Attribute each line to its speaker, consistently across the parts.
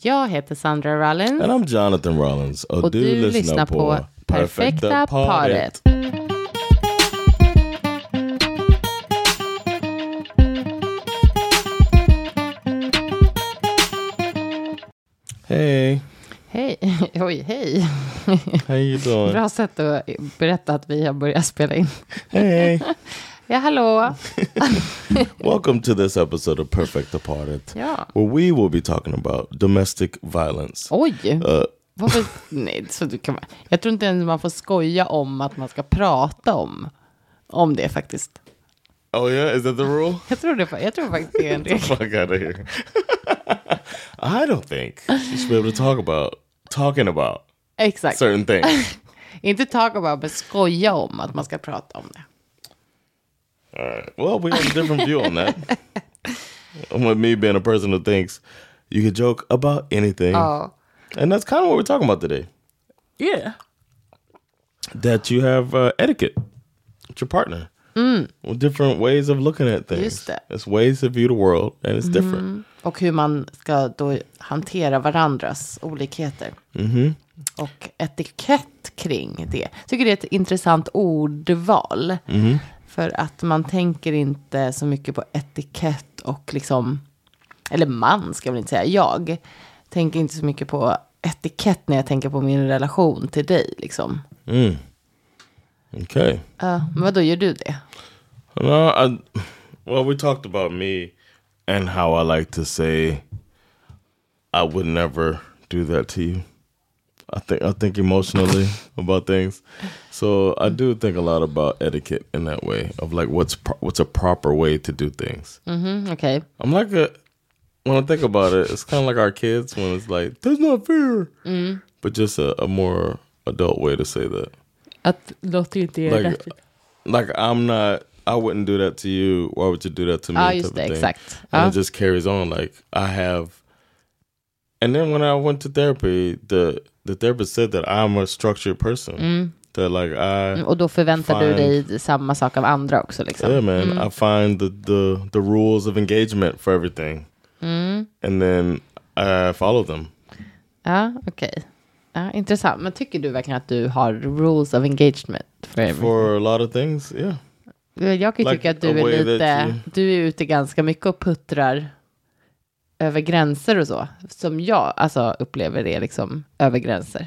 Speaker 1: Jag heter Sandra Rollins.
Speaker 2: And I'm Jonathan Rollins. Och,
Speaker 1: Och
Speaker 2: du, lyssnar, på,
Speaker 1: Perfekta paret.
Speaker 2: Hej,
Speaker 1: Hej. Oj, hej.
Speaker 2: how you doing?
Speaker 1: Bra sätt att berätta att vi har börjat spela in.
Speaker 2: Hey,
Speaker 1: Ja, hallå.
Speaker 2: welcome to this episode of Perfecta paret.
Speaker 1: Ja.
Speaker 2: Where we will be talking about domestic
Speaker 1: Oh.
Speaker 2: violence.
Speaker 1: Oj.
Speaker 2: Uh,
Speaker 1: Varför? Nej, så du kan man... Jag tror inte ens man får skoja om att man ska prata om, om det faktiskt.
Speaker 2: oh yeah, is that the rule?
Speaker 1: Jag tror, det, fa- jag tror faktiskt det är en regel.
Speaker 2: Fuck out of here. I don't think you should be able to talk about talking about
Speaker 1: Exakt.
Speaker 2: certain things.
Speaker 1: Inte talk about, men skoja om att man ska prata om det.
Speaker 2: Well, we have a different view on that. And with me being a person who thinks you can joke about anything.
Speaker 1: Ja.
Speaker 2: And that's kind of what we're talking about today.
Speaker 1: Oh. Yeah.
Speaker 2: That you have uh, etiquette with your partner. Well, different ways of looking at things.
Speaker 1: Just Mm. that. Mm-hmm.
Speaker 2: It's ways to view the world and it's different.
Speaker 1: Och hur man ska då hantera varandras olikheter. Mm-hmm. Och etikett kring det. Jag tycker det är ett intressant ordval. För att man tänker inte så mycket på etikett och liksom, eller man ska jag väl inte säga, jag tänker inte så mycket på etikett när jag tänker på min relation till dig. Liksom.
Speaker 2: Okay.
Speaker 1: Uh, men vadå, gör du det?
Speaker 2: No, I, well, we talked about me and how I like to say I would never do that to you. I think I think emotionally about things, so I do think a lot about etiquette in that way of like what's pro- what's a proper way to do things.
Speaker 1: Mm, Okej.
Speaker 2: I'm like a when I think about it, it's kind of like our kids when it's like that's not fair, but just a, a more adult way to say that
Speaker 1: Att låter inte er
Speaker 2: like, like I'm not. I wouldn't do that to you. Why would you do that to me?
Speaker 1: Ja,
Speaker 2: type
Speaker 1: just typ
Speaker 2: of
Speaker 1: det,
Speaker 2: thing.
Speaker 1: exakt.
Speaker 2: And
Speaker 1: Ja. typ
Speaker 2: it just carries on. Like I have. And then when I went to therapy, the the therapist said that I'm a structured person.
Speaker 1: Mm.
Speaker 2: That like I,
Speaker 1: Och då förväntar du
Speaker 2: Eh, Fine.
Speaker 1: dig samma sak av andra också. Liksom.
Speaker 2: yeah, man, I find the, the the rules of engagement for everything,
Speaker 1: Mm.
Speaker 2: and then I follow them.
Speaker 1: Ja, okej. Ja, intressant. Men tycker du verkligen att du har rules of engagement? För
Speaker 2: For a lot of things, yeah.
Speaker 1: jag kan ju
Speaker 2: like
Speaker 1: tycka att
Speaker 2: a
Speaker 1: du är
Speaker 2: way that
Speaker 1: lite,
Speaker 2: you-
Speaker 1: du är ute ganska mycket och puttrar över gränser och så. Som jag alltså, upplever det liksom över gränser.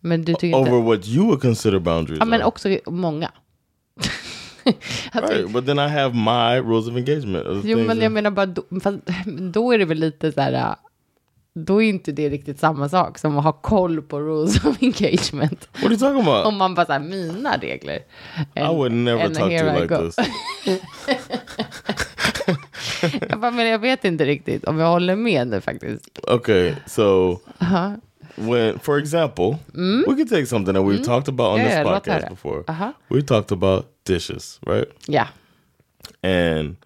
Speaker 1: Men du tycker
Speaker 2: Over
Speaker 1: inte...
Speaker 2: what you would consider boundaries.
Speaker 1: Ja, men
Speaker 2: are.
Speaker 1: också många. Alltså, Att vi-
Speaker 2: right. But then I have my rules of engagement. of the
Speaker 1: Jo,
Speaker 2: things
Speaker 1: men
Speaker 2: that-
Speaker 1: jag menar bara, då, fast, då är det väl lite så här, äh, då är inte det riktigt samma sak som att ha koll på rules of engagement.
Speaker 2: what are you talking about?
Speaker 1: Om man bara så här, mina regler.
Speaker 2: I would never
Speaker 1: and
Speaker 2: talk to you
Speaker 1: here I
Speaker 2: like
Speaker 1: go.
Speaker 2: this.
Speaker 1: Jag bara, men jag vet inte riktigt om jag håller med nu faktiskt.
Speaker 2: Okay, so
Speaker 1: Uh-huh.
Speaker 2: when, for example, we could take something that we've talked about on
Speaker 1: Mm? Yeah, yeah,
Speaker 2: this
Speaker 1: låt höra.
Speaker 2: podcast before.
Speaker 1: Uh-huh.
Speaker 2: We talked about dishes, right?
Speaker 1: Ja,
Speaker 2: And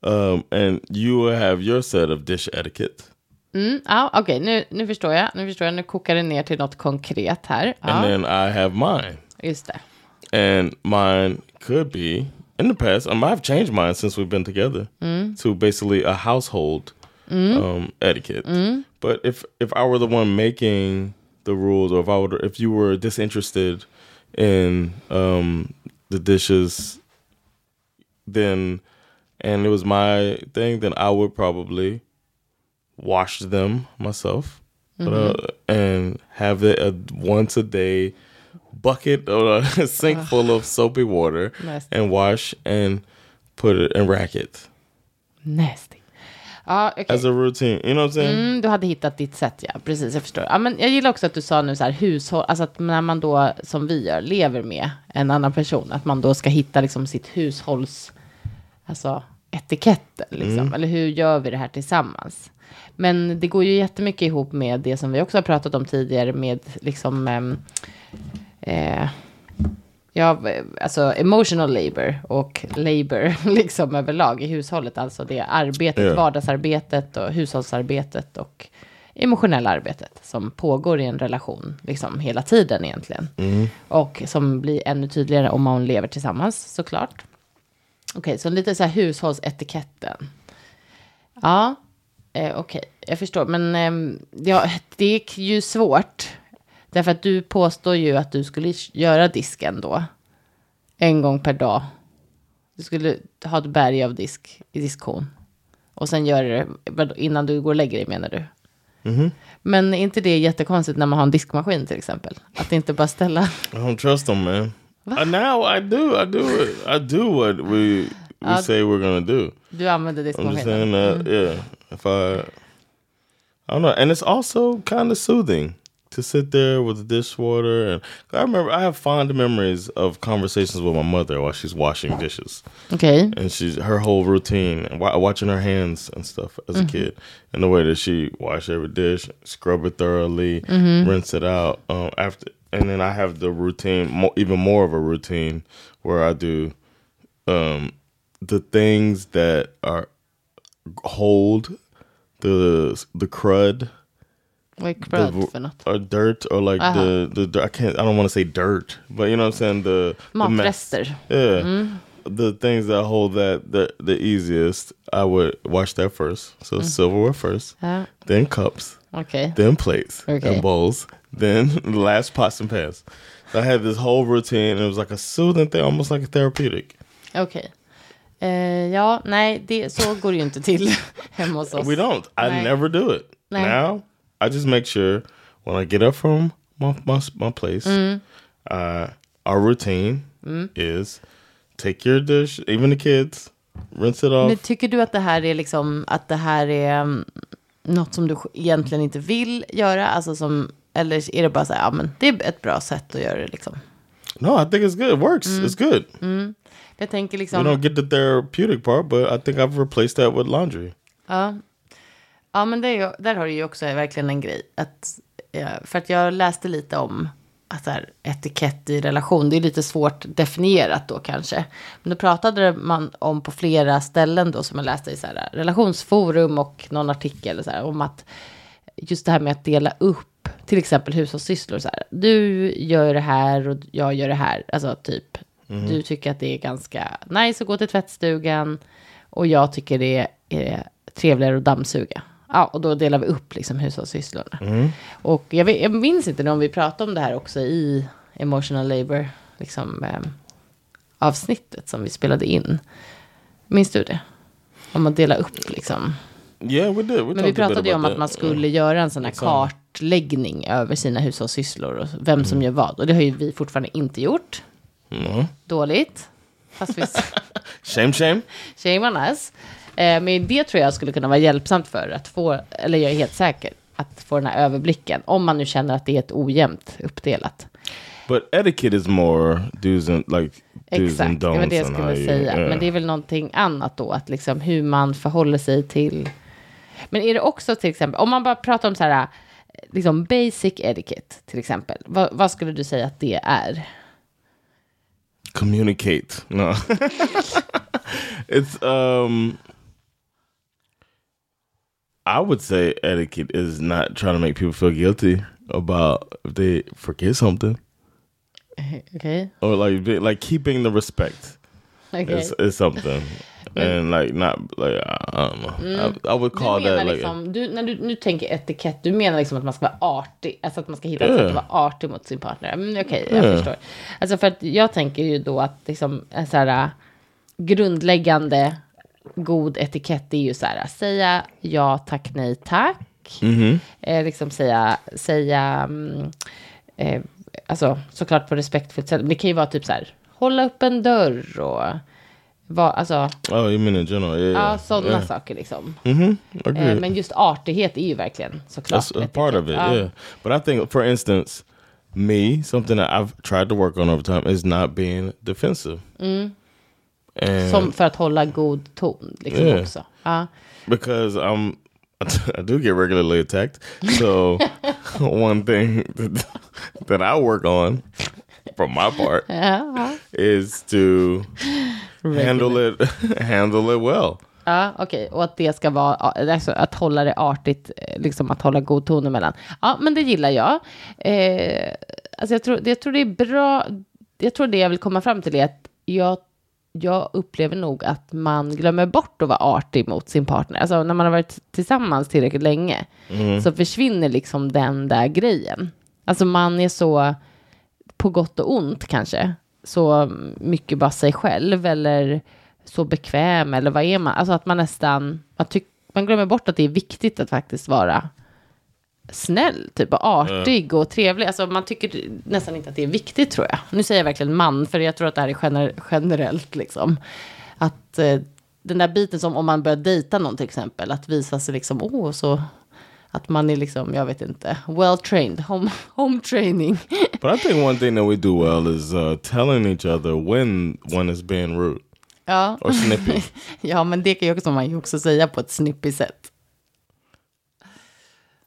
Speaker 2: um, and you will have your set of dish etiquette,
Speaker 1: mm, ja okej, nu, nu förstår jag. Nu förstår jag, nu kokar det ner till något konkret här.
Speaker 2: and
Speaker 1: Ja,
Speaker 2: then I have mine.
Speaker 1: just det.
Speaker 2: And mine could be in the past. Um, I've changed mine since we've been together
Speaker 1: Mm.
Speaker 2: to basically a household um, etiquette. But if if I were the one making the rules, or if I would, if you were disinterested in um, the dishes, then and it was my thing, then I would probably wash them myself but, uh, and have it a once a day bucket or a sink full of soapy water
Speaker 1: Nasty.
Speaker 2: and wash and put it and rack it.
Speaker 1: Nasty. Ja, okej.
Speaker 2: as a routine. You know what I'm saying?
Speaker 1: Mm, du hade hittat ditt sätt, ja. Precis, jag förstår. Ja, men jag gillar också att du sa nu så här hushåll, alltså att när man då, som vi gör, lever med en annan person, att man då ska hitta liksom sitt hushålls, alltså etiketten, liksom. Eller hur gör vi det här tillsammans? Men det går ju jättemycket ihop med det som vi också har pratat om tidigare med liksom, ehm, eh, ja, alltså emotional labor och labor liksom överlag i hushållet. Alltså det arbetet,
Speaker 2: Ja.
Speaker 1: vardagsarbetet och hushållsarbetet och emotionella arbetet som pågår i en relation liksom hela tiden egentligen. Och som blir ännu tydligare om man lever tillsammans såklart. Okej, så lite så här hushållsetiketten. Ja, eh, okej, jag förstår. Men ehm, ja, det är ju svårt. Därför att du påstår ju att du skulle göra disken då. En gång per dag. Du skulle ha ett berg av disk i diskon. Och sen göra det vadå, innan du går och lägger dig menar du? Men är inte det jättekonstigt när man har en diskmaskin till exempel? Att inte bara ställa...
Speaker 2: I don't trust them, man. Uh, now I do. I do it. I do what we we say we're gonna do.
Speaker 1: Du använder
Speaker 2: I'm just
Speaker 1: diskmaskinen.
Speaker 2: saying that. Yeah. If I, I don't know, and it's also kind of soothing to sit there with the dishwater. And I remember I have fond memories of conversations with my mother while she's washing dishes,
Speaker 1: Okej.
Speaker 2: and she's her whole routine, and wa- watching her hands and stuff as a kid, and the way that she washed every dish, scrub it thoroughly, rinse it out um, after. And then I have the routine, mo- even more of a routine, where I do um, the things that are hold the the crud,
Speaker 1: Vad är
Speaker 2: the,
Speaker 1: crud för något?
Speaker 2: or dirt or like the, the the- I can't I don't want to say dirt, but you know what I'm saying the the mess.
Speaker 1: Matrester.
Speaker 2: yeah
Speaker 1: Mm-hmm.
Speaker 2: the things that hold that the the easiest I would wash that first so
Speaker 1: Mm-hmm.
Speaker 2: silverware first
Speaker 1: Ja,
Speaker 2: then cups
Speaker 1: Okej.
Speaker 2: then plates
Speaker 1: Uh-huh. Okay.
Speaker 2: and bowls, then the last pots and pans. So I had this whole routine and it was like a soothing thing, almost like a therapeutic.
Speaker 1: Okej. Eh, ja, nej, det, så går det ju inte till hemma hos oss.
Speaker 2: We don't. I
Speaker 1: Right.
Speaker 2: never do it.
Speaker 1: Right.
Speaker 2: Now I just make sure when I get up from my my, my place,
Speaker 1: Mm-hmm.
Speaker 2: uh, our routine is take your dish, even the kids, rinse it off.
Speaker 1: Men tycker du att det här är liksom, att det här är mm, något som du sj- egentligen inte vill göra? Alltså som, eller är det bara så här, ja men det är ett bra sätt att göra det liksom.
Speaker 2: no, I think it's good. It works. It's good.
Speaker 1: Jag tänker
Speaker 2: We
Speaker 1: liksom,
Speaker 2: don't get the therapeutic part, but I think I've replaced that with laundry.
Speaker 1: ja. Ja men det är, ju- där har du ju också verkligen en grej. Att, eh, för att jag läste lite om att så här, etikett i relation, det är lite svårt definierat då kanske. Men då pratade man om på flera ställen då som jag läste i så här, relationsforum och någon artikel så här, om att just det här med att dela upp till exempel hushållssysslor. Så här, du gör det här och jag gör det här. Alltså typ, du tycker att det är ganska nice att gå till tvättstugan och jag tycker det är trevligare att dammsuga. Ja, och då delar vi upp liksom hushållssysslorna. Och jag, vet- jag minns inte om vi pratade om det här också i emotional labor, liksom ehm, avsnittet som vi spelade in. Minns du det? Om att dela upp liksom.
Speaker 2: Yeah, we did.
Speaker 1: Men vi
Speaker 2: We talked a bit
Speaker 1: pratade ju om
Speaker 2: about
Speaker 1: att man
Speaker 2: that.
Speaker 1: skulle göra en sån här kartläggning över sina hushållssysslor och vem som gör vad. Och det har ju vi fortfarande inte gjort. Dåligt. Fast vi
Speaker 2: Shame, shame.
Speaker 1: shamear us. Eh, men det tror jag skulle kunna vara hjälpsamt för att få, eller jag är helt säker, att få den här överblicken. Om man nu känner att det är ett ojämnt uppdelat.
Speaker 2: But etiquette is more do's and like do's
Speaker 1: Exakt,
Speaker 2: and
Speaker 1: det
Speaker 2: don'ts.
Speaker 1: var det jag
Speaker 2: and
Speaker 1: skulle
Speaker 2: how you-
Speaker 1: säga.
Speaker 2: yeah.
Speaker 1: Men det är väl någonting annat då, att liksom hur man förhåller sig till... Men är det också till exempel, om man bara pratar om så här, liksom basic etiquette till exempel, vad, vad skulle du säga att det är?
Speaker 2: communicate. No, it's um. I would say etiquette is not trying to make people feel guilty about if they forget something
Speaker 1: Okej, okej.
Speaker 2: or like be- like keeping the respect
Speaker 1: Alltså,
Speaker 2: is, is something. And like not like I I don't know. I, I would
Speaker 1: Du
Speaker 2: call
Speaker 1: menar
Speaker 2: that like
Speaker 1: liksom, du, när du nu tänker etikett, du menar liksom att man ska vara artig, alltså att man ska hitta ett
Speaker 2: Ja.
Speaker 1: sätt att vara artig mot sin partner. Men okej, jag
Speaker 2: Ja.
Speaker 1: förstår. Alltså för att jag tänker ju då att liksom en så här äh, grundläggande god etikett är ju så här, säga ja tack, nej tack. Eh, liksom säga, säga, mm, eh, alltså såklart på respektfullt sätt, men det kan ju vara typ så här, hålla upp en dörr och Vad, alltså,
Speaker 2: Oh, you mean in general?
Speaker 1: ja,
Speaker 2: Yeah, yeah,
Speaker 1: sådana
Speaker 2: yeah.
Speaker 1: saker liksom.
Speaker 2: Agreed.
Speaker 1: Eh, men just artighet är ju verkligen såklart. liksom.
Speaker 2: That's a Mm. Alltså, part of it,
Speaker 1: Ja.
Speaker 2: yeah. But I think, for instance, me, something that I've tried to work on over time is not being defensive. And
Speaker 1: Som för att hålla god ton liksom
Speaker 2: Yeah.
Speaker 1: också. Ja.
Speaker 2: because I'm, I do get regularly attacked. So one thing that, that I work on, from my part,
Speaker 1: Ja,
Speaker 2: is to handle it, handle it well.
Speaker 1: ja, okej. Och att det ska vara, alltså, att hålla det artigt, eh, liksom att hålla god ton emellan. Ja, men det gillar jag. Eh, alltså jag tror, jag tror det är bra, jag tror det jag vill komma fram till är att jag, jag upplever nog att man glömmer bort att vara artig mot sin partner. Alltså när man har varit tillsammans tillräckligt länge så försvinner liksom den där grejen. Alltså man är så, på gott och ont kanske, så mycket bara sig själv eller så bekväm eller vad är man? Alltså att man nästan, man, tyck, man glömmer bort att det är viktigt att faktiskt vara snäll, typ och artig och trevlig. Alltså man tycker nästan inte att det är viktigt tror jag. Nu säger jag verkligen man, för jag tror att det här är gener- generellt liksom. Att eh, den där biten som om man börjar dejta någon till exempel, att visa sig liksom, åh, så att man är liksom, jag vet inte, well trained, home, home training.
Speaker 2: But I think one thing that we do well is uh, telling each other when one is being rude
Speaker 1: Ja.
Speaker 2: or snippy.
Speaker 1: Ja, men det kan ju också, man ju också säga på ett snippigt sätt.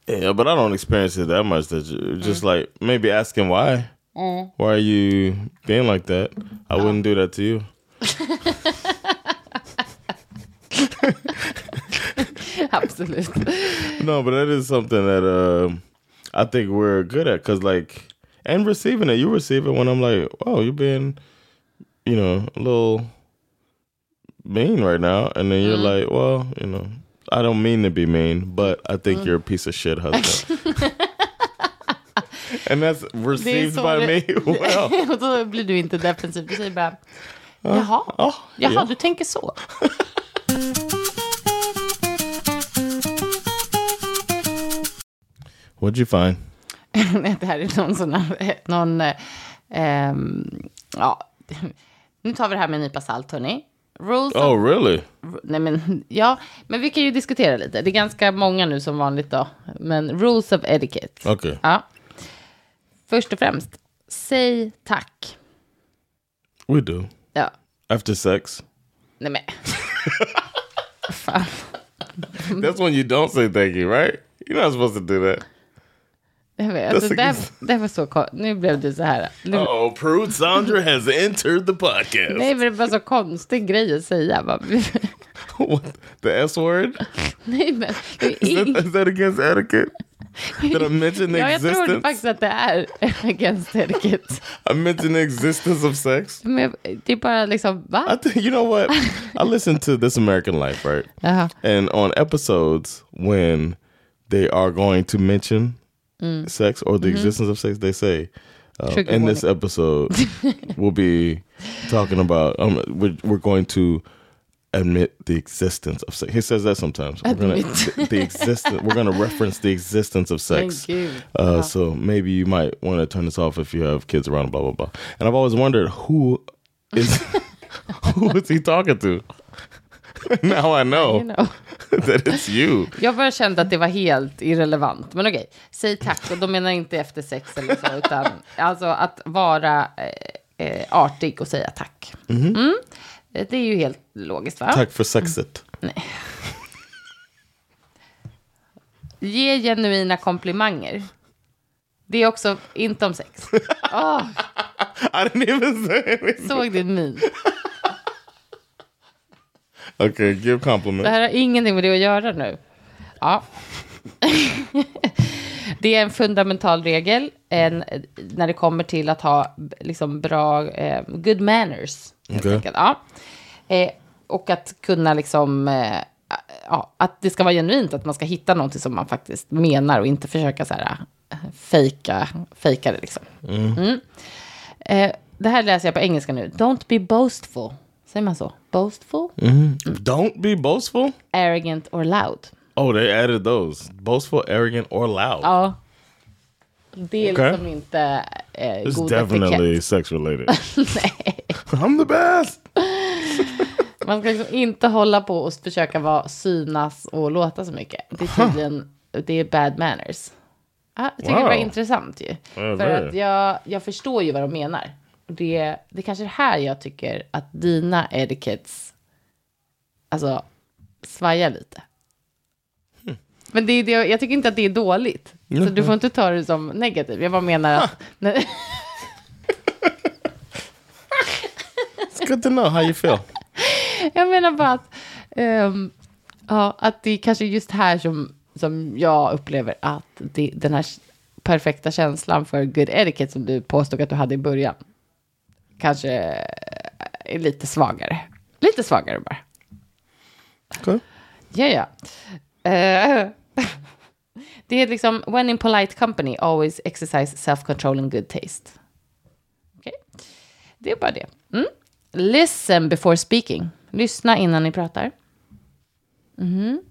Speaker 2: Yeah, but I don't experience it that much. That you just like maybe asking why, why are you being like that? I wouldn't do that to you.
Speaker 1: Absolut.
Speaker 2: No, but that is something that um I think we're good at because like and receiving it, you receive it when I'm like, oh, you're being, you know, a little mean right now, and then you're like, well, you know, I don't mean to be mean, but I think you're a piece of shit husband. And that's received
Speaker 1: so
Speaker 2: by me
Speaker 1: re-
Speaker 2: well.
Speaker 1: Och då blir du inte defensiv, du säger bara, jaha, jaha,
Speaker 2: ja.
Speaker 1: du tänker så.
Speaker 2: What'd you find?
Speaker 1: Nej, det här är någon sån här, någon, eh, ehm, ja, nu tar vi det här med en nypa salt, hörni. Rules
Speaker 2: Oh, really?
Speaker 1: Nej men, ja, men vi kan ju diskutera lite. Det är ganska många nu som vanligt då. Men rules of etiquette.
Speaker 2: Okay.
Speaker 1: Ja. Först och främst, säg tack.
Speaker 2: We do.
Speaker 1: Ja,
Speaker 2: After sex.
Speaker 1: nej men. Fan.
Speaker 2: That's when you don't say thank you, right? You're not supposed to do that.
Speaker 1: Jag vet, alltså,
Speaker 2: That's
Speaker 1: det, här,
Speaker 2: like-
Speaker 1: det här var så kon- Nu blev du så här. Nu,
Speaker 2: Oh, Prude Sandra has entered the podcast.
Speaker 1: Nej, men det var så konstig grej att säga. Bara-
Speaker 2: What? The S word?
Speaker 1: nej, men. Det är
Speaker 2: Is that,
Speaker 1: ing-
Speaker 2: is that against etiquette? Did I mention the
Speaker 1: ja, jag trodde
Speaker 2: existence?
Speaker 1: faktiskt att det är against etiquette.
Speaker 2: I mentioned the existence of sex.
Speaker 1: Men det är bara liksom,
Speaker 2: I
Speaker 1: va?
Speaker 2: think you know what? I listened to This American Life, right?
Speaker 1: Uh-huh.
Speaker 2: And on episodes when they are going to mention sex or the existence of sex, they say,
Speaker 1: Mm.
Speaker 2: uh,
Speaker 1: Mm-hmm. Trigger
Speaker 2: in this episode, we'll be talking about, um, we're, we're going to admit the existence of sex. He says that sometimes. We're gonna, the, the existence, we're going to reference the existence of
Speaker 1: Men
Speaker 2: sex.
Speaker 1: gud.
Speaker 2: Uh, So maybe you might want to turn this off if you have kids around, blah blah blah. And I've always wondered who is who is he talking to? now I know
Speaker 1: You know.
Speaker 2: that it's you.
Speaker 1: Jag bara kände att det var helt irrelevant. Men okej, säg tack. Och då menar jag inte efter sex eller så, utan alltså att vara eh, eh, artig och säga tack. Mm. Det är ju helt logiskt, va?
Speaker 2: Mhm. Tack för sexet.
Speaker 1: Ge genuina komplimanger. Det är också inte om sex.
Speaker 2: I didn't even say anything.
Speaker 1: Såg din min.
Speaker 2: Okay, give
Speaker 1: Det
Speaker 2: compliment.
Speaker 1: här har ingenting med det att göra nu. Ja. det är en fundamental regel en, när det kommer till att ha liksom, bra eh, good manners. helt
Speaker 2: Okej.
Speaker 1: enkelt. Ja. Eh, och att kunna liksom... Eh, ja, att det ska vara genuint, att man ska hitta någonting som man faktiskt menar och inte försöka så här, eh, fejka, fejka det. Liksom. Mm. Eh, det här läser jag på engelska nu. Don't be boastful. Säger man så? Boastful?
Speaker 2: Don't be boastful.
Speaker 1: Arrogant or loud.
Speaker 2: Oh, they added those. Boastful, arrogant, or loud.
Speaker 1: Ja. Det är
Speaker 2: Okej.
Speaker 1: liksom inte eh,
Speaker 2: it's
Speaker 1: god
Speaker 2: definitely
Speaker 1: etikett.
Speaker 2: sex related. I'm the best.
Speaker 1: Man ska liksom inte hålla på och försöka vara synas och låta så mycket. Det är tydligen, det är bad manners. Ah, jag tycker det var
Speaker 2: Wow.
Speaker 1: intressant ju.
Speaker 2: Ja,
Speaker 1: För
Speaker 2: det är
Speaker 1: att
Speaker 2: det.
Speaker 1: jag, jag förstår ju vad de menar. Och Det, det är kanske är här jag tycker att dina etikets, alltså, svajar lite.
Speaker 2: Hm.
Speaker 1: Men det är det, jag tycker inte att det är dåligt. Så du får inte ta det som negativt. Jag bara menar att... Nej.
Speaker 2: It's good to know how you feel.
Speaker 1: Jag menar bara att, ehm, ja, att det är kanske just här som, som jag upplever att det, den här perfekta känslan för good etiquette som du påstod att du hade i början kanske är lite svagare. Lite svagare bara.
Speaker 2: Okay.
Speaker 1: Ja, ja. Eh, det är liksom, when in polite company, always exercise self-control and good taste. Okej. Det är bara det. Mm. Listen before speaking. Lyssna innan ni pratar. Mhm.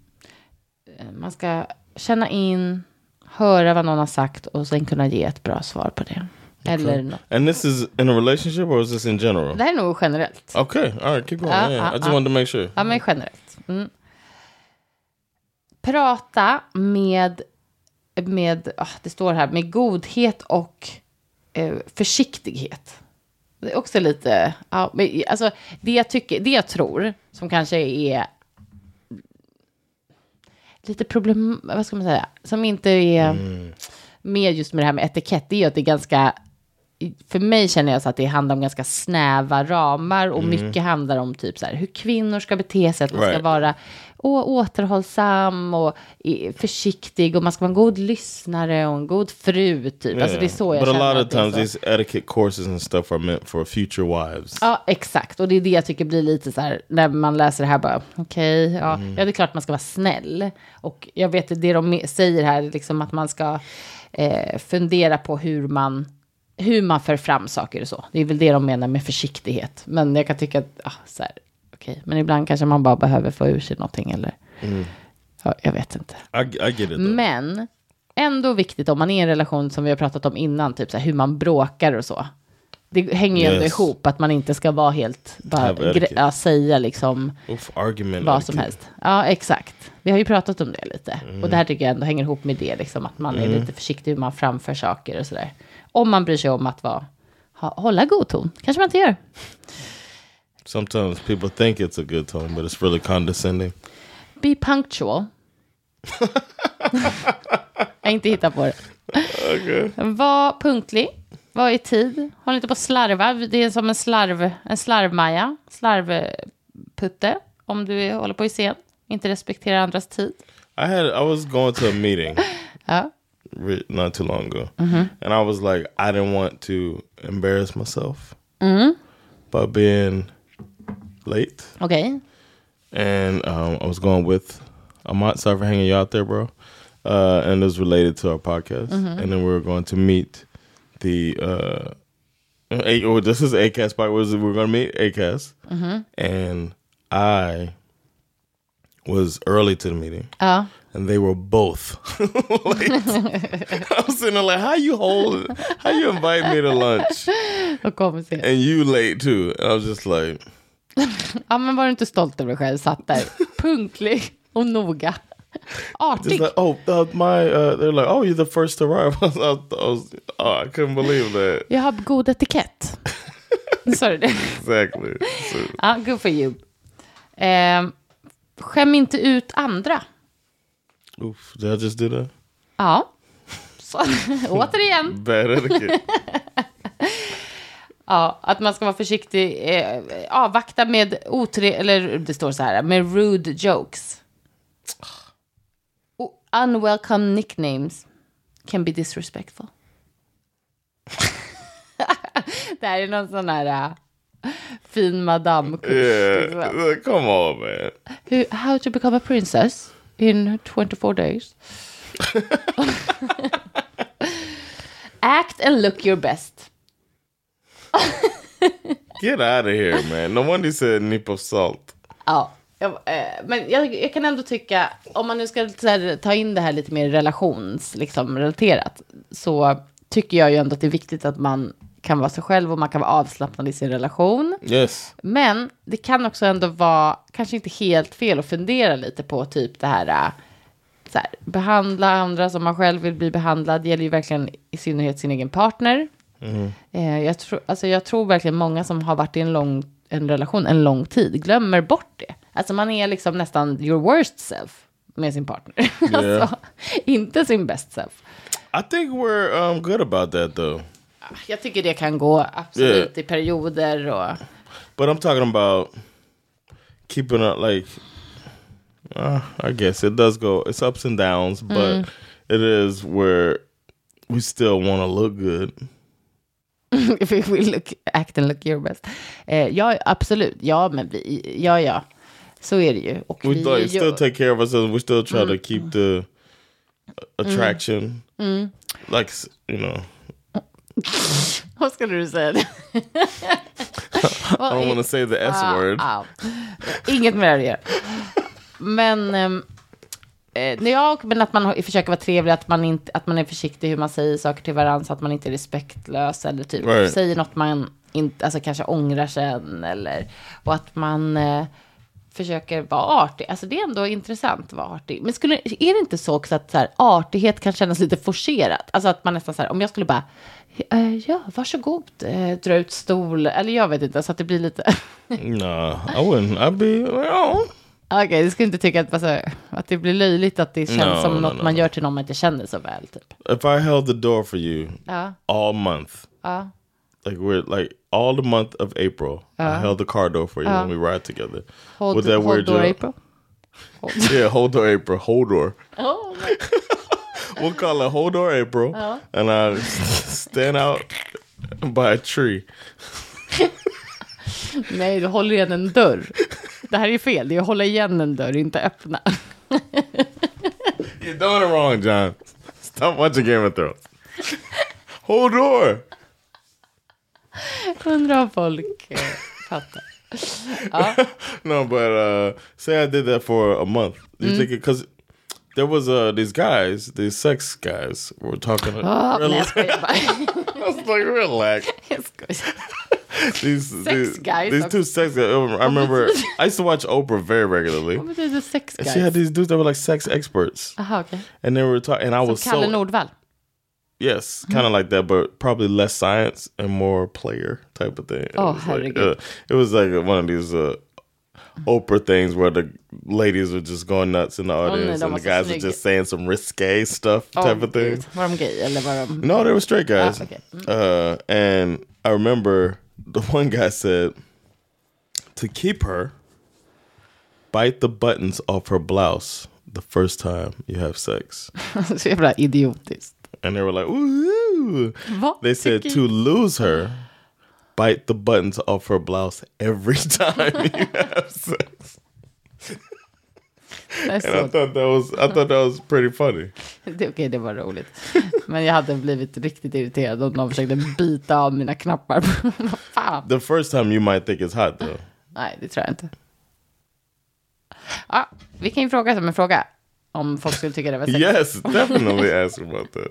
Speaker 1: Eh, Man ska känna in, höra vad någon har sagt och sen kunna ge ett bra svar på det. Eller något.
Speaker 2: And this is in a relationship or is this in general?
Speaker 1: Det här är nog generellt.
Speaker 2: okay. All right. Keep going.
Speaker 1: Uh,
Speaker 2: yeah.
Speaker 1: uh,
Speaker 2: I just
Speaker 1: uh.
Speaker 2: wanted to make sure.
Speaker 1: Ja, men generellt. Mm. Prata med, med ah, det står här, med godhet och eh, försiktighet. Det är också lite, ja, men, alltså det jag tycker, det jag tror, som kanske är lite problem, vad ska man säga, som inte är med just med det här med etikett, det är ju att det är ganska, för mig känner jag så att det handlar om ganska snäva ramar och mycket handlar om typ så här hur kvinnor ska bete sig, att man ska
Speaker 2: Right.
Speaker 1: vara å- återhållsam och i- försiktig och man ska vara en god lyssnare och en god fru typ. Alltså det är så jag
Speaker 2: Eh, but a
Speaker 1: känner
Speaker 2: lot of
Speaker 1: att det är
Speaker 2: times
Speaker 1: så.
Speaker 2: these etiquette courses and stuff are meant for future wives.
Speaker 1: Ja, exakt. Och det är det jag tycker blir lite så här, när man läser det här bara, okej, ja,
Speaker 2: Mm.
Speaker 1: ja, det är klart man ska vara snäll. Och jag vet att det de me- säger här, är liksom att man ska eh, fundera på hur man, hur man för fram saker och så. Det är väl det de menar med försiktighet. Men jag kan tycka att, ja, så här, okej, men ibland kanske man bara behöver få ur sig någonting eller,
Speaker 2: Mm.
Speaker 1: ja, jag vet inte.
Speaker 2: I, I get it. Though.
Speaker 1: Men ändå viktigt om man är i en relation som vi har pratat om innan, typ så här, hur man bråkar och så. Det hänger ju ändå
Speaker 2: Yes.
Speaker 1: ihop att man inte ska vara helt, bara
Speaker 2: Have etiquette.
Speaker 1: gre- ja, säga liksom
Speaker 2: Oof, argument.
Speaker 1: vad som
Speaker 2: etiquette.
Speaker 1: helst. Ja, exakt. Vi har ju pratat om det lite. Och det här tycker jag ändå hänger ihop med det, liksom, att man är lite försiktig hur man framför saker och sådär. Om man bryr sig om att vara, ha, hålla god ton, kanske man inte gör.
Speaker 2: Sometimes people think it's a good tone, but it's really condescending.
Speaker 1: Be punctual. jag har inte hittat på det. Var punktlig. Var i tid. Håll inte på och slarva. Det är som en slarv, en slarvmaja. Slarvputte. Om du är- håller på i scen. Inte respekterar andras tid.
Speaker 2: I had I was going to a meeting
Speaker 1: Ja.
Speaker 2: re- not too long ago, and I was like, I didn't want to embarrass myself by being late,
Speaker 1: Okej.
Speaker 2: and um, I was going with Amant. Sorry for hanging you out there, bro. Uh, and it was related to our podcast, and then we were going to meet the. Uh, A- oh, this is ACAS part. Was we were going to meet ACAS, and I was early to the meeting
Speaker 1: Ja.
Speaker 2: and they were both late. I was sitting there like, how you hold, how you invite me to lunch
Speaker 1: Och kom sen.
Speaker 2: and you late too? And I was just like,
Speaker 1: Ja men var du inte stolt över dig själv? Satt där. Punktlig. Och noga.
Speaker 2: just
Speaker 1: Artig.
Speaker 2: like oh, uh, my, uh, they're like, oh, you're the first to arrive. I was, I was, oh, I couldn't believe that.
Speaker 1: Jag har god etikett. Sa du det?
Speaker 2: Exactly. So,
Speaker 1: Ja, good for you. Eh, skäm inte ut andra.
Speaker 2: oof, did I just do that?
Speaker 1: Ja. Så, återigen.
Speaker 2: Bad etiquette.
Speaker 1: Ja, att man ska vara försiktig. Eh, avvakta med otre... Eller det står så här. Med rude jokes. Och unwelcome nicknames can be disrespectful. det här är någon sån här eh, fin madamkurs.
Speaker 2: Yeah.
Speaker 1: liksom.
Speaker 2: Like, come on, man.
Speaker 1: Hur- How to become a princess in 24 days. Act and look your best.
Speaker 2: Get out of here, man. No wonder you said nip of salt.
Speaker 1: Ja, jag, eh, men jag, jag kan ändå tycka, om man nu ska så här, ta in det här lite mer relations, liksom relaterat, så tycker jag ju ändå att det är viktigt att man kan vara sig själv och man kan vara avslappnad i sin relation.
Speaker 2: Yes.
Speaker 1: Men det kan också ändå vara, kanske inte helt fel att fundera lite på typ det här, äh, så här behandla andra som man själv vill bli behandlad. Det gäller ju verkligen i synnerhet sin egen partner. Eh, jag, tror, alltså jag tror verkligen många som har varit i en lång en relation en lång tid glömmer bort det. Alltså man är liksom nästan your worst self med sin partner. alltså, inte sin best self.
Speaker 2: I think we're um, good about that though.
Speaker 1: Jag tycker det kan gå absolut
Speaker 2: Yeah.
Speaker 1: i perioder och...
Speaker 2: But I'm talking about keeping up, like, uh, I guess it does go, it's ups and downs, but it is where we still want to look good.
Speaker 1: If we will look, act and look your best. Eh, ja, absolut. Ja, men vi, ja, ja. Så är det ju. Och
Speaker 2: We
Speaker 1: är ju-
Speaker 2: like, still take care of ourselves. We still try
Speaker 1: Mm.
Speaker 2: to keep the attraction.
Speaker 1: Mm.
Speaker 2: Like, s- you know,
Speaker 1: Vad skulle du säga?
Speaker 2: I don't want to say the S word.
Speaker 1: Au. Inget mer att göra. Men, ehm, eh, nej, ja, och- men att man har- försöker vara trevlig, att man, inte, att man är försiktig hur man säger saker till varandra, så att man inte är respektlös eller typ
Speaker 2: Right.
Speaker 1: säger något man inte, alltså kanske ångrar sen eller, och att man eh, försöker vara artig. Alltså det är ändå intressant att vara artig. Men skulle, är det inte så också att så här, artighet kan kännas lite forcerat? Alltså att man nästan så här, om jag skulle bara, eh, ja, varsågod, eh, dra ut stol, eller jag vet inte, så att det blir lite...
Speaker 2: Nah, I wouldn't. I'd be like, oh.
Speaker 1: Okej, du skulle inte tycka att, bara så här, att det blir löjligt att det känns
Speaker 2: No,
Speaker 1: som
Speaker 2: no,
Speaker 1: något
Speaker 2: no,
Speaker 1: man
Speaker 2: no.
Speaker 1: gör till någon man inte känner så väl. Typ.
Speaker 2: If I held the door for you
Speaker 1: Ja,
Speaker 2: all month,
Speaker 1: ja,
Speaker 2: like we're like all the month of April, I held the car door for you when we ride together.
Speaker 1: Uh. hold,
Speaker 2: Would that
Speaker 1: hold
Speaker 2: weird
Speaker 1: door
Speaker 2: you out?
Speaker 1: April.
Speaker 2: Yeah, hold door April, hold door.
Speaker 1: Oh, my-
Speaker 2: We'll call it hold door April,
Speaker 1: Uh.
Speaker 2: and I stand out by a tree.
Speaker 1: nej, du håller igen en dörr. Det här är ju fel, det är att hålla igen en dörr, inte öppna.
Speaker 2: You're doing it wrong, John. Stop watching Game of Thrones. Hold door.
Speaker 1: Undrar om folk eh, fattar.
Speaker 2: No, but uh say I did that for a month. You
Speaker 1: Mm-hmm.
Speaker 2: think it because there was uh these guys, these sex guys, were talking.
Speaker 1: Oh, nej,
Speaker 2: Rel-
Speaker 1: jag skojar bara.
Speaker 2: I was like, relax.
Speaker 1: Jag skojar.
Speaker 2: These these,
Speaker 1: guys
Speaker 2: These
Speaker 1: are- Oh
Speaker 2: two sex guys. oh, I remember I used to watch Oprah very regularly.
Speaker 1: Vad betyder sex
Speaker 2: And she had
Speaker 1: Oh guys?
Speaker 2: these dudes that were like sex experts,
Speaker 1: Jaha, okej.
Speaker 2: and they were talking. And I was
Speaker 1: Kalle
Speaker 2: so
Speaker 1: Nordvall.
Speaker 2: yes, kind
Speaker 1: Mm-hmm.
Speaker 2: of like that, but probably less science and more player type of thing. It
Speaker 1: Oh,
Speaker 2: was like,
Speaker 1: herregud.
Speaker 2: uh, it was like one of these uh, Oprah things where the ladies were just going nuts in the
Speaker 1: nej,
Speaker 2: audience,
Speaker 1: de
Speaker 2: and
Speaker 1: var
Speaker 2: the
Speaker 1: så
Speaker 2: guys were
Speaker 1: snygga.
Speaker 2: just saying some risque stuff
Speaker 1: Åh,
Speaker 2: type of thing.
Speaker 1: gud. Var de gay eller var de...
Speaker 2: No, they were straight guys.
Speaker 1: Oh, Ah, okay. Mm.
Speaker 2: Uh, and I remember the one guy said, to keep her, bite the buttons off her blouse the first time you have sex.
Speaker 1: Så jävla idiotiskt.
Speaker 2: And they were like, ooh.
Speaker 1: Vad
Speaker 2: They said
Speaker 1: tycker-
Speaker 2: to lose her, bite the buttons off her blouse every time you have sex.
Speaker 1: Det är
Speaker 2: And I
Speaker 1: så
Speaker 2: thought that was I thought that was pretty funny.
Speaker 1: Det, okej, det var roligt. Men jag hade blivit riktigt irriterad om någon försökte bita av mina knappar. Vad fan?
Speaker 2: The first time you might think it's hot though.
Speaker 1: Nej, det tror jag inte. Ja, vi kan ju fråga som en fråga. Om folk skulle tycka det var sexigt.
Speaker 2: Yes, definitely ask about that.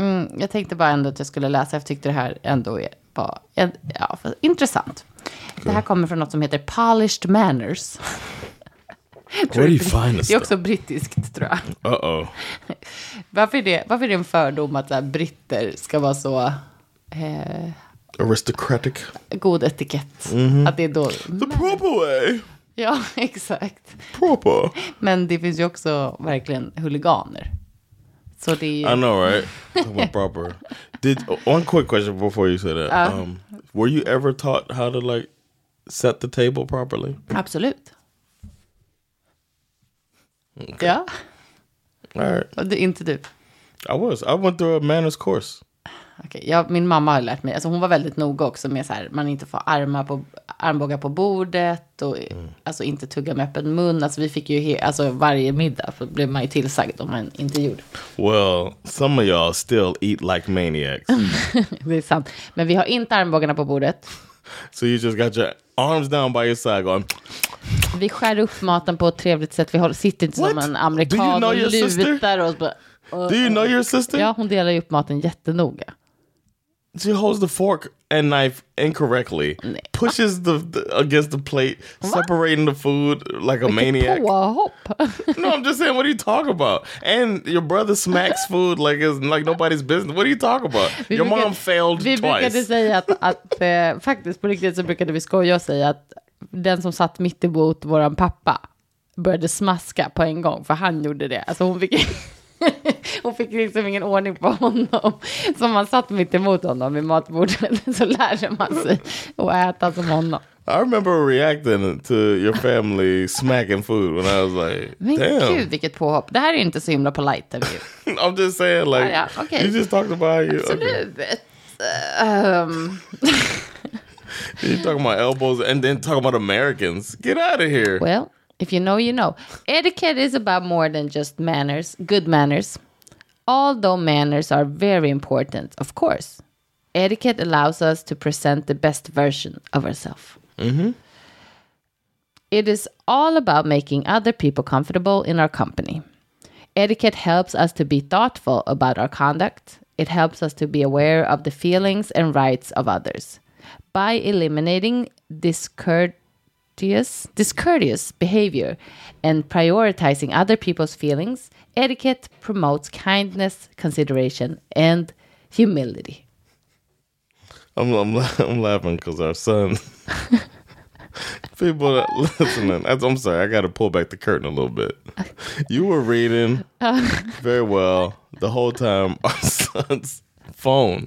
Speaker 1: Mm, jag tänkte bara ändå att jag skulle läsa. Jag tyckte det här ändå är var en, ja, för- intressant. Det här kommer från något som heter Polished Manners.
Speaker 2: Where do you find this
Speaker 1: Det är
Speaker 2: stuff?
Speaker 1: också brittiskt tror jag.
Speaker 2: Uh oh.
Speaker 1: Varför är det, varför är det en fördom att så här, britter ska vara så eh,
Speaker 2: Aristocratic.
Speaker 1: god etikett? Att det är då...
Speaker 2: The proper way.
Speaker 1: Ja, exakt.
Speaker 2: Proper.
Speaker 1: Men det finns ju också verkligen huliganer. Så det är
Speaker 2: I
Speaker 1: ju...
Speaker 2: know, right? Talking about proper. Did oh, one quick question before you say that? um, were you ever taught how to like set the table properly?
Speaker 1: Absolut. Ja,
Speaker 2: All right,
Speaker 1: och det, inte du.
Speaker 2: I was. I went through a manners course.
Speaker 1: Okej, ja, min mamma har lärt mig, alltså hon var väldigt noga också med så här, man inte får armar på, armbågar på bordet och alltså inte tugga med öppen mun. Alltså vi fick ju, he, alltså varje middag så blev man ju tillsagd om man inte gjorde.
Speaker 2: Well, some of y'all still eat like maniacs,
Speaker 1: Det är sant. Men vi har inte armbågarna på bordet.
Speaker 2: so you just got your arms down by your side, going.
Speaker 1: Vi skär upp maten på ett trevligt sätt. Vi håller, sitter inte som
Speaker 2: What?
Speaker 1: en
Speaker 2: Do you
Speaker 1: amerikan
Speaker 2: know
Speaker 1: och
Speaker 2: your sister?
Speaker 1: lutar oss. Bara,
Speaker 2: Do you know your sister?
Speaker 1: ja, hon delar ju upp maten jättenoga.
Speaker 2: She holds the fork and knife incorrectly, pushes the, the- against the plate, separating the food like a maniac.
Speaker 1: Påhopp!
Speaker 2: No, I'm just saying. What are you talking about? And your brother smacks food like it's like nobody's business. What are you talking about?
Speaker 1: Vi
Speaker 2: your
Speaker 1: brukade-
Speaker 2: mom failed
Speaker 1: Vi brukade
Speaker 2: twice.
Speaker 1: säga att, att eh, faktiskt på riktigt så brukade vi skoja och säga att den som satt mitt emot våran pappa började smaska på en gång, för han gjorde det. Alltså hon fick... Hon fick liksom ingen ordning på honom. Så om man satt mitt emot honom vid matbordet så lärde man sig att äta som honom.
Speaker 2: I remember reacting to your family smacking food when I was like,
Speaker 1: Men gud
Speaker 2: "Damn."
Speaker 1: vilket påhopp. Det här är ju inte så himla polite. av er.
Speaker 2: I'm just saying, like,
Speaker 1: Yeah, okay.
Speaker 2: you just talked about you. Okay.
Speaker 1: Absolut. Ehm,
Speaker 2: You talking about elbows and then talking about Americans. Get out of here.
Speaker 1: Well, if you know, you know. Etiquette is about more than just manners, good manners. Although manners are very important, of course, etiquette allows us to present the best version of ourselves. It is all about making other people comfortable in our company. Etiquette helps us to be thoughtful about our conduct. It helps us to be aware of the feelings and rights of others. By eliminating discourteous, discourteous behavior and prioritizing other people's feelings, etiquette promotes kindness, consideration, and humility.
Speaker 2: I'm, I'm, la- I'm laughing because our son. People that listening, I- I'm sorry, I got to pull back the curtain a little bit. You were reading very well the whole time. Our son's phone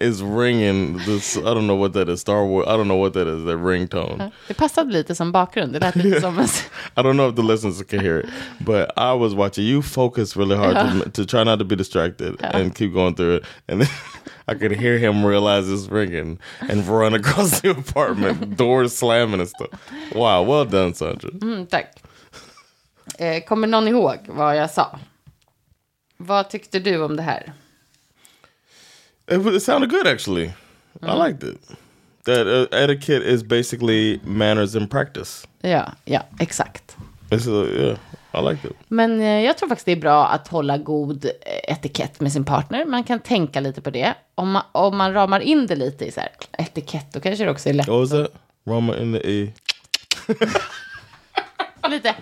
Speaker 2: is ringing. This I don't know what that is. Star Wars. I don't know what that is. That ringtone.
Speaker 1: Det passade lite som bakgrund. Det lät lite som en...
Speaker 2: I don't know if the listeners can hear it, but I was watching you focus really hard to, to try not to be distracted and keep going through it. And then I could hear him realize it's ringing and run across the apartment, doors slamming and stuff. Wow, well done, Sandra.
Speaker 1: Mm, tack. Eh, kommer någon ihåg vad jag sa? Vad tyckte du om det här?
Speaker 2: It, was- it sounded good, actually. I liked it. That uh, etiquette is basically manners in practice.
Speaker 1: Ja, ja, exakt.
Speaker 2: It's uh, yeah, I liked it.
Speaker 1: Men eh, jag tror faktiskt det är bra att hålla god eh, etikett med sin partner. Man kan tänka lite på det. Om man, om man ramar in det lite i så här, etikett, då kanske det också är lätt.
Speaker 2: What was that? Roma in the E.
Speaker 1: Lite.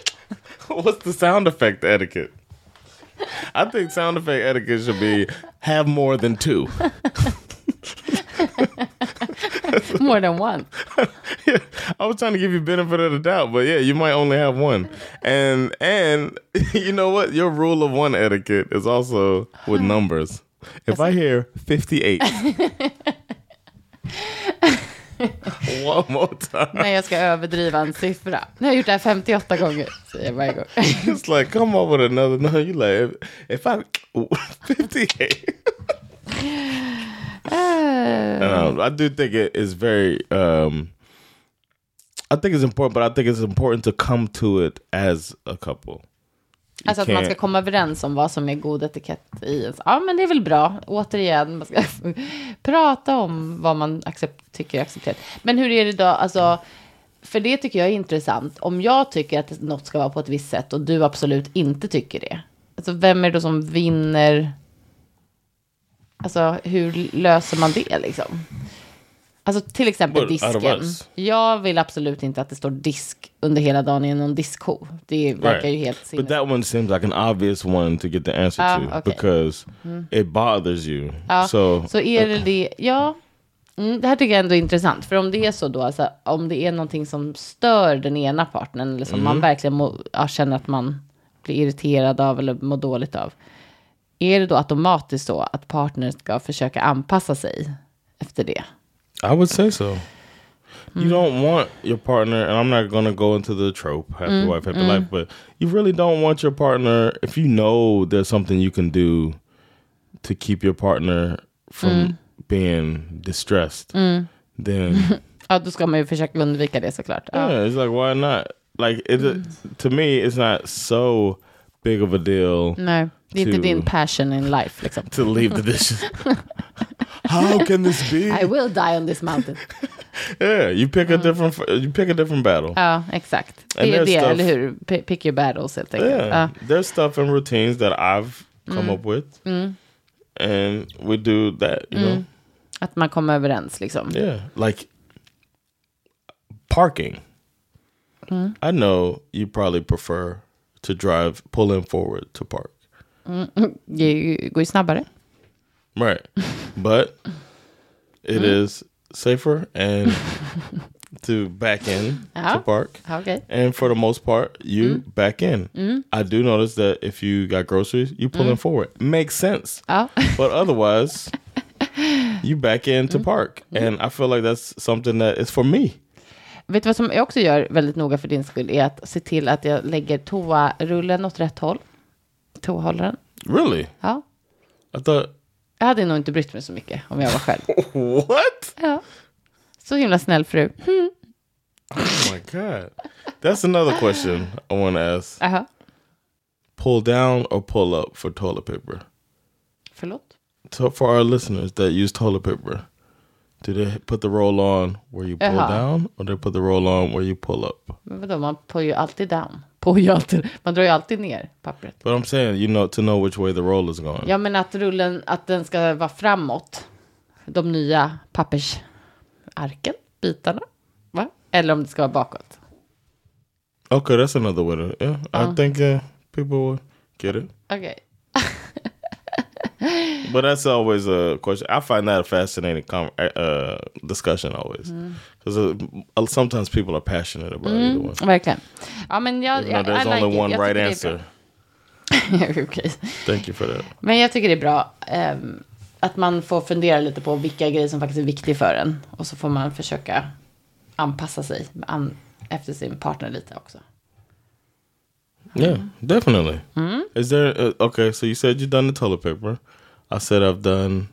Speaker 2: What's the sound effect etiquette? I think sound effect etiquette should be have more than two.
Speaker 1: More than one.
Speaker 2: I was trying to give you benefit of the doubt, but yeah, you might only have one. And and you know what? Your rule of one etiquette is also with numbers. If I hear 58 one more time,
Speaker 1: Nej, jag ska överdriva en siffra. Nu har jag gjort det här 58 gånger, säger jag varje gång.
Speaker 2: it's like come up with another number. You like if, if I 58
Speaker 1: Eh,
Speaker 2: Um, I do think it is very. Um, I think it's important, but I think it's important to come to it as a couple.
Speaker 1: Alltså att man ska komma överens om vad som är god etikett i ens... Ja, men det är väl bra. Återigen, man ska prata om vad man accept, tycker är accepterat. Men hur är det då, alltså... För det tycker jag är intressant. Om jag tycker att något ska vara på ett visst sätt och du absolut inte tycker det. Alltså vem är det då som vinner Alltså hur löser man det liksom? Alltså till exempel
Speaker 2: But out of
Speaker 1: disken.
Speaker 2: us.
Speaker 1: Jag vill absolut inte att det står disk under hela dagen i någon diskho. Det verkar ju helt
Speaker 2: But
Speaker 1: sinnessjukt.
Speaker 2: that one seems like an obvious one to get the answer
Speaker 1: Ah,
Speaker 2: to
Speaker 1: okay. Mm-hmm. Ah.
Speaker 2: because it bothers you.
Speaker 1: Ja,
Speaker 2: so,
Speaker 1: så är det det, ja. Mm, det här tycker jag ändå är intressant. För om det är så då, alltså, om det är någonting som stör den ena partnern, eller som
Speaker 2: Mm.
Speaker 1: man verkligen må, ja, känner att man blir irriterad av eller mår dåligt av. Är det då automatiskt så att partnern ska försöka anpassa sig efter det?
Speaker 2: I would say so. You don't want your partner, and I'm not going to go into the trope, happy wife, happy life, but you really don't want your partner, if you know there's something you can do to keep your partner from being distressed, then
Speaker 1: Ja, då ska man ju försöka undvika det såklart. Ja.
Speaker 2: yeah, it's like, why not? Like, it, uh, to me, it's not so big of a deal
Speaker 1: Nej, det är inte
Speaker 2: To-
Speaker 1: din passion in life liksom.
Speaker 2: to leave the dishes. How can this be?
Speaker 1: I will die on this mountain.
Speaker 2: Yeah, you pick a different you pick a different battle.
Speaker 1: Ja, exakt.
Speaker 2: And
Speaker 1: Det är
Speaker 2: there's
Speaker 1: det,
Speaker 2: stuff-
Speaker 1: eller hur? P- Pick your battles helt enkelt.
Speaker 2: yeah,
Speaker 1: Ja.
Speaker 2: there's stuff and routines that I've come up with, and we do that. You know,
Speaker 1: Att man kommer överens liksom.
Speaker 2: yeah, like parking. I know you probably prefer to drive pull in forward to park,
Speaker 1: Det är ju- går ju snabbare.
Speaker 2: right? but it is safer and to back in
Speaker 1: Yeah.
Speaker 2: to park.
Speaker 1: Ja, Okej.
Speaker 2: And for the most part, you back in. I do notice that if you got groceries, you pull them forward. Makes sense.
Speaker 1: Ja.
Speaker 2: But otherwise, you back in to park. And I feel like that's something that is for me.
Speaker 1: Vet du vad som jag också gör väldigt noga för din skull är att se till att jag lägger toarullen åt rätt håll. Toahållaren.
Speaker 2: Really?
Speaker 1: Ja.
Speaker 2: I thought,
Speaker 1: Jag hade nog inte brytt mig så mycket om jag var själv.
Speaker 2: what?
Speaker 1: Ja. Så himla snäll fru.
Speaker 2: Oh my God. That's another question I want to ask.
Speaker 1: Aha.
Speaker 2: Pull down or pull up for toilet paper?
Speaker 1: Förlåt?
Speaker 2: So for our listeners that use toilet paper, do they put the roll on where you pull
Speaker 1: Uh-huh.
Speaker 2: down or they put the roll on where you pull up?
Speaker 1: Men vadå, man pår ju alltid down. Pår ju alltid. Man drar ju alltid ner pappret.
Speaker 2: But I'm saying, you know, to know which way the roll is going.
Speaker 1: Ja, men att rullen, att den ska vara framåt. De nya pappersarken, bitarna. Va? Eller om det ska vara bakåt.
Speaker 2: Okay, that's another way to. Yeah,
Speaker 1: Uh-huh.
Speaker 2: I think uh, people will get it.
Speaker 1: Okej.
Speaker 2: But that's always a question. I find that a fascinating com- uh, discussion always,
Speaker 1: Mm-hmm.
Speaker 2: because uh, sometimes people are passionate about either one.
Speaker 1: Verkligen. Ja, men jag,
Speaker 2: Even
Speaker 1: jag,
Speaker 2: though
Speaker 1: Mm-hmm.
Speaker 2: there's
Speaker 1: I like
Speaker 2: only
Speaker 1: it.
Speaker 2: one
Speaker 1: jag
Speaker 2: right
Speaker 1: tycker
Speaker 2: answer.
Speaker 1: det är bra. Okej.
Speaker 2: Thank you for that.
Speaker 1: Men jag tycker det är bra ehm, att man får fundera lite på vilka grejer som faktiskt är viktiga för en. Och så får man försöka anpassa sig an, efter sin partner lite också.
Speaker 2: Yeah, definitely. Is there uh, okay? So you said you've done the toilet paper. I said I've done.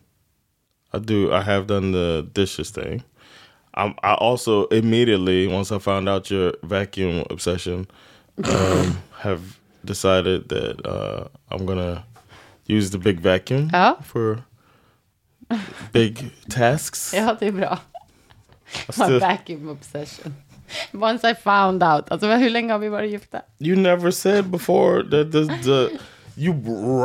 Speaker 2: I do. I have done the dishes thing. I'm, I also immediately once I found out your vacuum obsession, um, have decided that uh, I'm gonna use the big vacuum
Speaker 1: Ja.
Speaker 2: for big tasks.
Speaker 1: Ja, det är bra.
Speaker 2: I
Speaker 1: My
Speaker 2: still-
Speaker 1: vacuum obsession. Once I found out. Alltså hur länge har vi varit gifta?
Speaker 2: You never said before that this, the you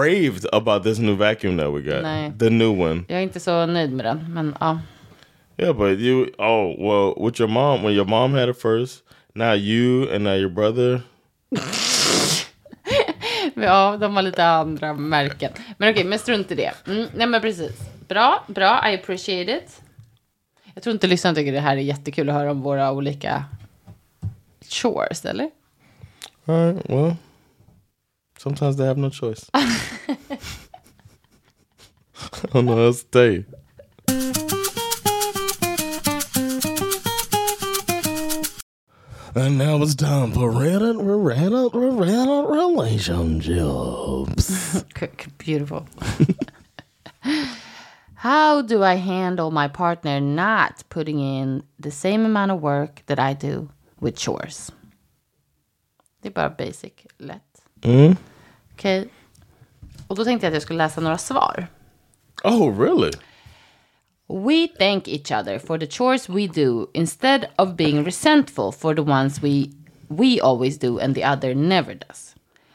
Speaker 2: raved about this new vacuum that we got.
Speaker 1: No.
Speaker 2: The new one.
Speaker 1: Jag är inte så nöjd med den, men ja.
Speaker 2: Yeah, but you oh well with your mom when your mom had it first, now you and now your brother.
Speaker 1: Ja, de har lite andra märken. Men okej, men strunt i det. Mm, nej, men precis. Bra, bra. I appreciate it. Jag tror inte lyssnarna tycker det här är jättekul att höra om våra olika chores, eller?
Speaker 2: All right, well. Sometimes they have no choice. I don't know how to tell you. And now it's time for Reddit, Reddit, Reddit relationships.
Speaker 1: C- c- Beautiful. How do I handle my partner not putting in the same amount of work that I do with chores? Det är bara basic, lätt.
Speaker 2: Mm.
Speaker 1: Okej. Och då tänkte jag att jag skulle läsa några svar.
Speaker 2: Oh, really?
Speaker 1: We thank each other for the chores we do instead of being resentful for the ones we we always do and the other never does.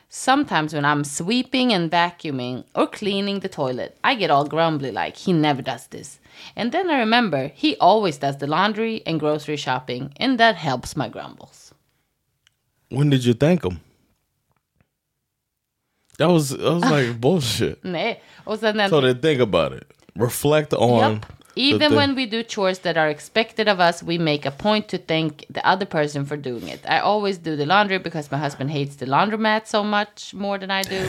Speaker 1: Sometimes when I'm sweeping and vacuuming or cleaning the toilet, I get all grumbly like he never does this. And then I remember he always does the laundry and grocery shopping, and that helps my grumbles.
Speaker 2: When did you thank him? That was that
Speaker 1: Ah.
Speaker 2: was like bullshit.
Speaker 1: Nej, och sen den,
Speaker 2: So then think about it. Reflect on.
Speaker 1: Yep.
Speaker 2: the
Speaker 1: Even
Speaker 2: thing.
Speaker 1: when we do chores that are expected of us, we make a point to thank the other person for doing it. I always do the laundry because my husband hates the laundromat so much more than I do.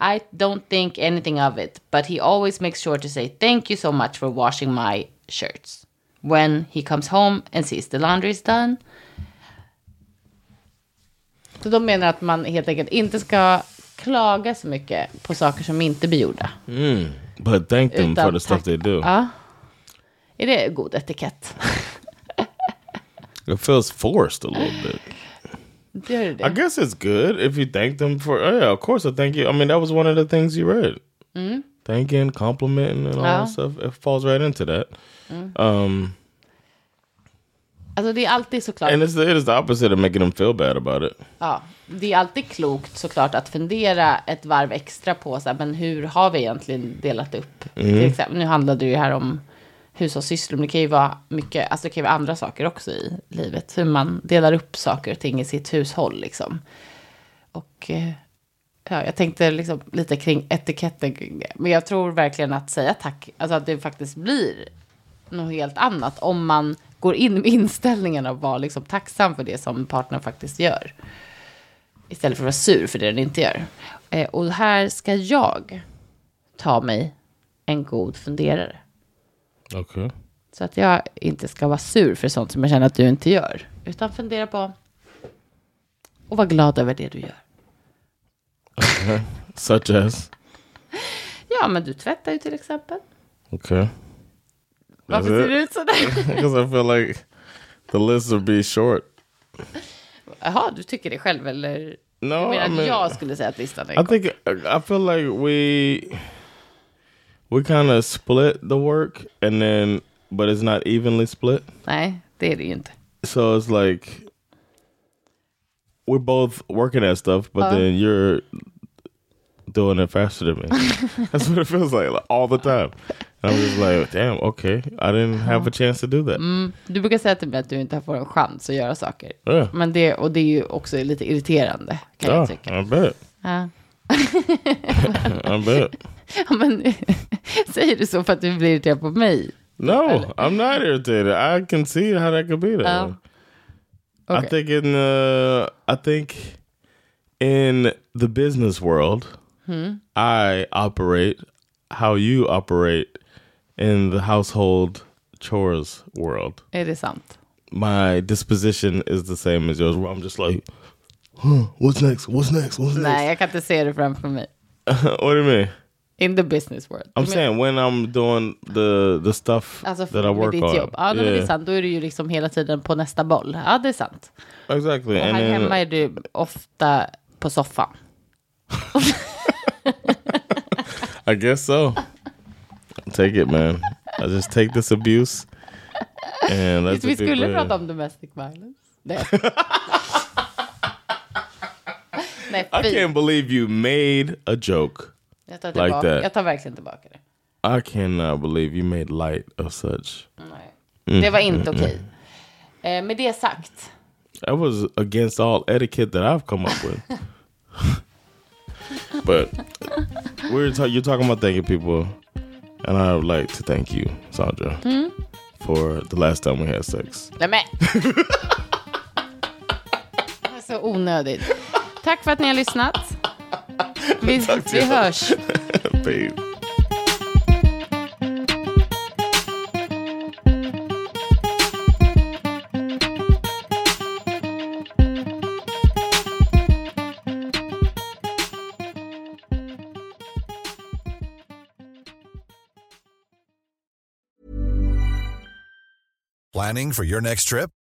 Speaker 1: I don't think anything of it, but he always makes sure to say thank you so much for washing my shirts when he comes home and sees the laundry is done. Så de menar att man helt enkelt inte ska klaga så mycket på saker som inte blir gjorda.
Speaker 2: But thank them
Speaker 1: Utan
Speaker 2: for the stuff they do.
Speaker 1: Är det god etikett?
Speaker 2: It feels forced a little bit.
Speaker 1: Gör det
Speaker 2: I
Speaker 1: det?
Speaker 2: guess it's good if you thank them for. Oh yeah, of course I thank you. I mean, that was one of the things you read. Mm-hmm. Thanking, complimenting, and all
Speaker 1: Ja.
Speaker 2: that stuff. It falls right into that. Um,
Speaker 1: Alltså det är alltid såklart,
Speaker 2: and it's the, it is the opposite of making them feel bad about it.
Speaker 1: ja, det är alltid klokt såklart att fundera ett varv extra på så här, men hur har vi egentligen delat upp? Till exempel, nu handlade det ju här om hushållssysslor, men det kan ju vara mycket, alltså det kan ju vara andra saker också i livet. Hur man delar upp saker och ting i sitt hushåll liksom. Och eh, ja, jag tänkte liksom lite kring etiketten kring det. Men jag tror verkligen att säga tack, alltså att det faktiskt blir något helt annat om man går in med inställningen av att vara liksom tacksam för det som partnern faktiskt gör. Istället för att vara sur för det den inte gör. Eh, och här ska jag ta mig en god funderare.
Speaker 2: Okay.
Speaker 1: Så att jag inte ska vara sur för sånt som jag känner att du inte gör. Utan fundera på och vara glad över det du gör.
Speaker 2: Such as.
Speaker 1: Ja, men du tvättar ju till exempel.
Speaker 2: Okay.
Speaker 1: Varför
Speaker 2: That's
Speaker 1: ser
Speaker 2: it?
Speaker 1: du ut sådär?
Speaker 2: Because I feel like the list would be short.
Speaker 1: Jaha, du tycker det själv eller?
Speaker 2: No,
Speaker 1: Du menar
Speaker 2: I
Speaker 1: att
Speaker 2: mean-
Speaker 1: jag skulle säga att listan är
Speaker 2: I
Speaker 1: kort?
Speaker 2: think I feel like we we kind of split the work and then but it's not evenly split.
Speaker 1: Nej, det är det ju inte.
Speaker 2: So it's like we're both working at stuff, but then you're doing it faster than me. That's what it feels like, like, all the time. And I'm just like, damn, okay. I didn't have a chance to do that.
Speaker 1: Du brukar säga till mig att du inte får en chans att göra saker.
Speaker 2: Ja.
Speaker 1: Men det, och det är ju också lite irriterande kan jag
Speaker 2: yeah,
Speaker 1: tycka.
Speaker 2: I bet.
Speaker 1: Ja.
Speaker 2: I bet.
Speaker 1: Ja, men, säger du så för att du blir irriterad på mig?
Speaker 2: No, I'm not irritated. I can see how that could be though.
Speaker 1: Oh.
Speaker 2: I
Speaker 1: Okay.
Speaker 2: think in the I think in the business world,
Speaker 1: Hmm.
Speaker 2: I operate how you operate in the household chores world.
Speaker 1: Är det sant?
Speaker 2: My disposition is the same as yours. Where I'm just like, huh, what's next? What's next? What's
Speaker 1: Nej,
Speaker 2: next?
Speaker 1: jag kan inte se det framför mig.
Speaker 2: what do you mean?
Speaker 1: In the business world.
Speaker 2: I'm
Speaker 1: Du menar-
Speaker 2: saying when I'm doing the the stuff
Speaker 1: Alltså
Speaker 2: Oh, that I
Speaker 1: med
Speaker 2: work
Speaker 1: ditt
Speaker 2: on.
Speaker 1: jobb. Ja, nej, men det är
Speaker 2: Yeah,
Speaker 1: sant. Då är du ju liksom hela tiden på nästa boll. Ja, det är sant.
Speaker 2: exactly.
Speaker 1: Och
Speaker 2: And
Speaker 1: här
Speaker 2: then-
Speaker 1: hemma är du ofta på soffan.
Speaker 2: I guess so. Take it, man. I just take this abuse. And let's
Speaker 1: Vi skulle prata om domestic violence. Nej, Nej
Speaker 2: I
Speaker 1: fy.
Speaker 2: can't believe you made a joke.
Speaker 1: Jag tar,
Speaker 2: like
Speaker 1: tillbaka.
Speaker 2: that.
Speaker 1: jag tar verkligen tillbaka det.
Speaker 2: I cannot believe you made light of such.
Speaker 1: Nej.
Speaker 2: Mm,
Speaker 1: Det var inte okej. Eh, med det sagt.
Speaker 2: That was against all etiquette that I've come up with. but we're ta- you're talking about thanking people, and I would like to thank you, Sandra,
Speaker 1: Hmm?
Speaker 2: for the last time we had sex.
Speaker 1: Nej men. Det är så onödigt. Tack för att ni har lyssnat. Vi, vi hörs.
Speaker 2: Babe.
Speaker 3: Planning for your next trip?